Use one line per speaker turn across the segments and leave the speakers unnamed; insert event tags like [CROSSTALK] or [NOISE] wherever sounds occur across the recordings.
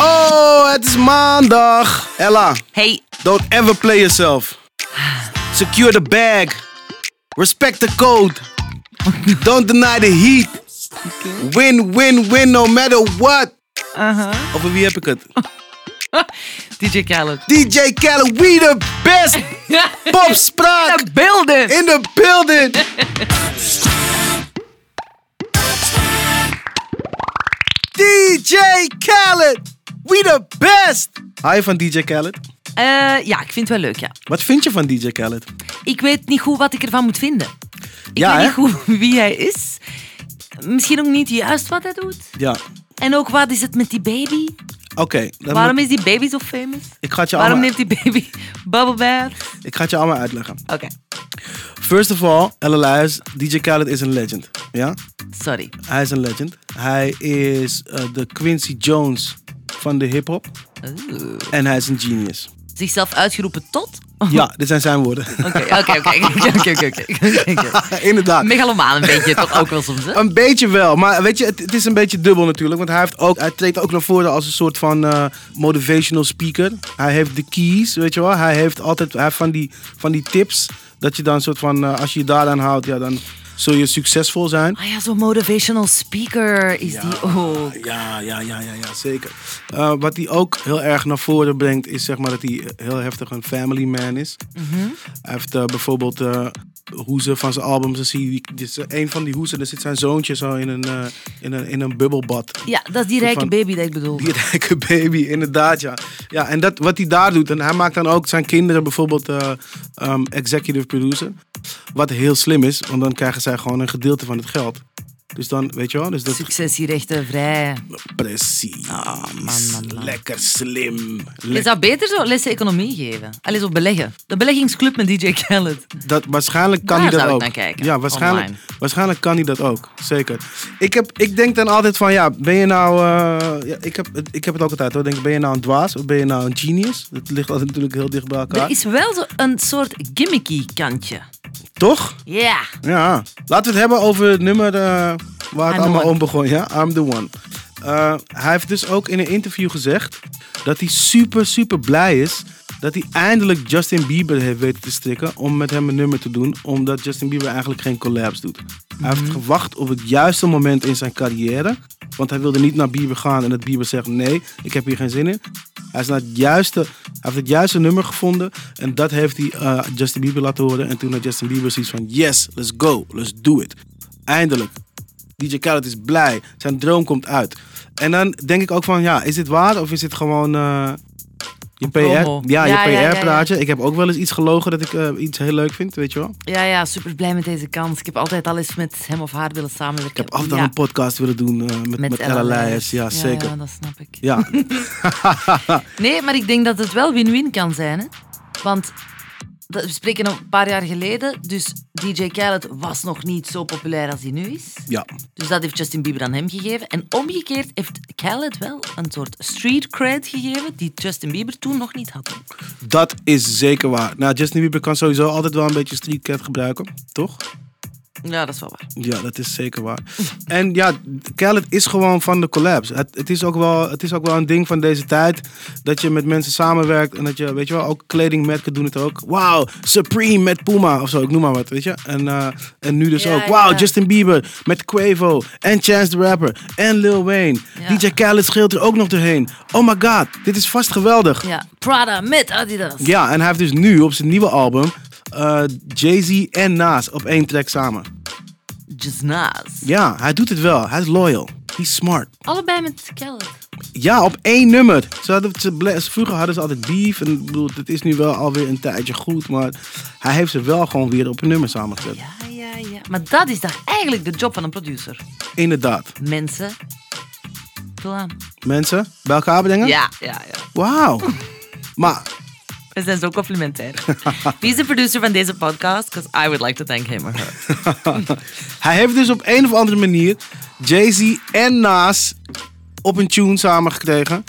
Oh, Het is maandag. Ella,
Hey,
don't ever play yourself. Secure the bag. Respect the code. Don't deny the heat. Win, win, win, no matter what.
Uh-huh.
Over wie heb ik het?
DJ Khaled.
DJ Khaled, we the best. Pop Spraak
De beelden.
in the building. DJ Khaled, we the best. Hou je van DJ Khaled?
Eh, ja, ik vind het wel leuk, ja.
Wat vind je van DJ Khaled?
Ik weet niet goed wat ik ervan moet vinden. Ik
Ja,
weet
hè?
niet goed [LAUGHS] wie hij is. Misschien ook niet juist wat hij doet.
Ja,
En ook wat is het met die baby?
oké. dan
Waarom
moet-
is die baby zo famous?
Ik ga het je
Waarom
allemaal,
neemt die baby [LAUGHS] bubble bath?
ik ga het je allemaal uitleggen.
Oké,
First of all, Ella Luijs, DJ Khaled is een legend. Ja?
sorry.
Hij is een legend. Hij is eh, de Quincy Jones van de hip-hop.
Oeh.
En hij is een genius.
Eh, Zichzelf uitgeroepen tot? Oké,
Ja, dit zijn zijn woorden.
Oh. oké, oké, oké, oké, oké, oké, oké.
[LAUGHS] Inderdaad.
Megalomaan een beetje, toch ook wel soms, hè?
Een beetje wel, maar weet je, het, het is een beetje dubbel natuurlijk. Want hij, heeft ook, hij treedt ook naar voren als een soort van eh, motivational speaker. Hij heeft de keys, weet je wel. Hij heeft altijd hij heeft van, die, van die tips. Dat je dan een soort van, eh, als je je daaraan houdt, ja, dan zul je succesvol zijn.
Ah ja, zo'n motivational speaker is die Oh, ook.
Ja, ja, ja, ja, ja zeker. Eh, wat hij ook heel erg naar voren brengt, is zeg maar dat hij heel heftig een family man is.
Mhm.
Hij heeft eh, bijvoorbeeld eh hoezen van zijn albums. Dan zie je, dit is een van die hoezen, daar zit zijn zoontje zo in een, eh, in een, in een bubbelbad. [LAUGHS]
Ja, dat is die rijke
Van-
baby die ik bedoel.
Die rijke baby, inderdaad, ja. Ja, en dat, wat hij daar doet, en hij maakt dan ook zijn kinderen bijvoorbeeld eh, ehm, executive producer. Wat heel slim is, want dan krijgen zij gewoon een gedeelte van het geld. Dus dan, weet je wel, dus dat,
Successierechten vrij.
Precies.
Ah, man, man, man.
Lekker slim.
Je zou beter zo lessen economie geven. Allee, zo beleggen. De beleggingsclub met DJ Khaled.
dat, waarschijnlijk kan
Daar
hij dat
zou ik
ook.
naar kijken,
Ja, waarschijnlijk,
online.
waarschijnlijk kan hij dat ook. Zeker. Ik, heb, ik denk dan altijd van, ja, ben je nou... eh, ja, ik, heb, het- ik heb het ook altijd hoor. Ik Denk, ben je nou een dwaas of ben je nou een genius? Dat ligt altijd natuurlijk heel dicht bij elkaar.
Er is wel zo een soort gimmicky kantje.
Toch?
Ja.
Ja. Laten we het hebben over het nummer eh, waar het
the
allemaal
one.
om begon. Ja, I'm the one. Eh, hij heeft dus ook in een interview gezegd dat hij super, super blij is dat hij eindelijk Justin Bieber heeft weten te strikken om met hem een nummer te doen, omdat Justin Bieber eigenlijk geen collabs doet. Hij heeft gewacht op het juiste moment in zijn carrière, want hij wilde niet naar Bieber gaan en dat Bieber zegt nee, ik heb hier geen zin in. Hij, is naar het juiste, hij heeft het juiste nummer gevonden en dat heeft hij eh, Justin Bieber laten horen. En toen had Justin Bieber zoiets van yes, let's go, let's do it. Eindelijk. DJ Khaled is blij. Zijn droom komt uit. En dan denk ik ook van, ja, is dit waar of is dit gewoon eh, je PR?
promo.
Ja,
Ja, ja, ja,
je
ja.
PR-praatje. Ik heb ook wel eens iets gelogen dat ik eh, iets heel leuk vind, weet je wel.
Ja, ja, super blij met deze kans. Ik heb altijd al eens met hem of haar willen samenwerken.
Ik heb af en toe
ja.
een podcast willen doen eh, met, met, Ella Leijers. Ja, zeker.
Ja, dat snap ik.
Ja,
Nee, maar ik denk dat het wel win-win kan zijn. Hè? Want dat, we spreken al een paar jaar geleden. Dus DJ Khaled was nog niet zo populair als hij nu is.
ja,
Dus dat heeft Justin Bieber aan hem gegeven. En omgekeerd heeft Khaled wel een soort street cred gegeven die Justin Bieber toen nog niet had.
dat is zeker waar. Nou, Justin Bieber kan sowieso altijd wel een beetje streetcat gebruiken, toch?
Ja, dat is wel waar.
Ja, dat is zeker waar. En ja, Khaled is gewoon van de collabs. Het, het, is ook wel, het is ook wel een ding van deze tijd. Dat je met mensen samenwerkt. En dat je, weet je wel, ook kledingmerken doen het ook. Wauw, Supreme met Puma of zo. Ik noem maar wat, weet je. En, eh, en nu dus
Ja,
ook. Wauw,
ja.
Justin Bieber met Quavo. En Chance the Rapper. En Lil Wayne.
Ja.
DJ Khaled scheelt er ook nog doorheen. Oh my god, dit is vast geweldig.
Ja, Prada met Adidas.
Ja, en hij heeft dus nu op zijn nieuwe album... eh, Jay-Z en Nas op één track samen.
Just Nas.
Ja, hij doet het wel. Hij is loyal. He's smart.
Allebei met Khaled.
Ja, op één nummer. Ze hadden, ze ble- ze- vroeger hadden ze altijd beef. En ik bedoel, het is nu wel alweer een tijdje goed. Maar hij heeft ze wel gewoon weer op een nummer samengezet.
Ja, ja, ja. Maar dat is toch eigenlijk de job van een producer.
Inderdaad.
Mensen. Vul aan.
Mensen, bij elkaar brengen?
Ja, ja, ja.
Wauw. Maar
We zijn zo [LAUGHS] complimentair. Wie is de producer van deze podcast? Because I would like to thank him or her.
hij heeft dus op een of andere manier Jay-Z en Nas op een tune samengekregen.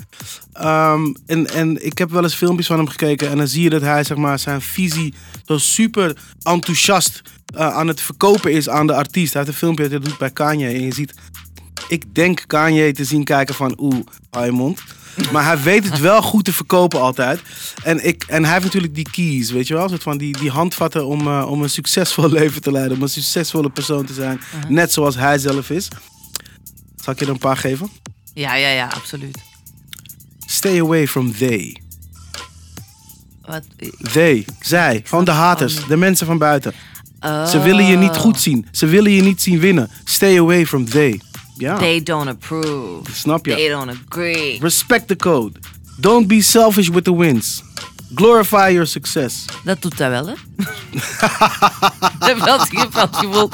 Ehm en, en ik heb wel eens filmpjes van hem gekeken. En dan zie je dat hij zeg maar, zijn visie zo super enthousiast eh, aan het verkopen is aan de artiest. Hij heeft een filmpje dat hij doet bij Kanye. En je ziet, ik denk Kanye te zien kijken van, oeh, hou je mond. Maar hij weet het wel goed te verkopen altijd. En, ik, en hij heeft natuurlijk die keys, weet je wel? Een soort van die, die handvatten om, eh, om een succesvol [LAUGHS] leven te leiden. Om een succesvolle persoon te zijn.
Uh-huh.
Net zoals hij zelf is. Zal ik je er een paar geven?
Ja, ja, ja, absoluut.
Stay away from they.
Wat?
They, zij, gewoon de haters, de mensen van buiten. Ze willen je
Oh.
niet goed zien. Ze willen je niet zien winnen. Stay away from they. Ja,
They don't approve.
snap je?
They don't agree.
Respect the code. Don't be selfish with the wins. Glorify your success.
Dat doet dat wel, [LAUGHS] hè? ik, heb wel, ik heb wel het gevoel...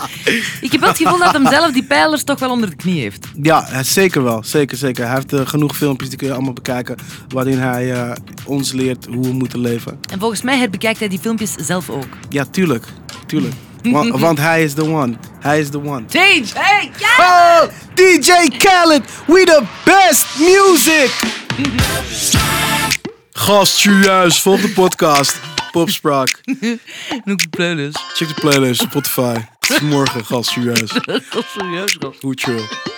Ik heb wel het gevoel dat hem zelf die pijlers toch wel onder de knie heeft.
Ja, eh, zeker wel. Zeker, zeker. Hij heeft eh, genoeg filmpjes, die kun je allemaal bekijken. Waarin hij eh, ons leert hoe we moeten leven.
En volgens mij herbekijkt hij die filmpjes zelf ook.
Ja, tuurlijk. Tuurlijk. Want, want hij is the one. Hij is the one.
DJ, ja!
Oh, DJ Khaled, we the best music. Gastjuist, volg de podcast. Popspraak.
Noek de playlist.
Check de playlist, Spotify. Morgen, gastjuist.
Dat is serieus, gast.
Goed, chill.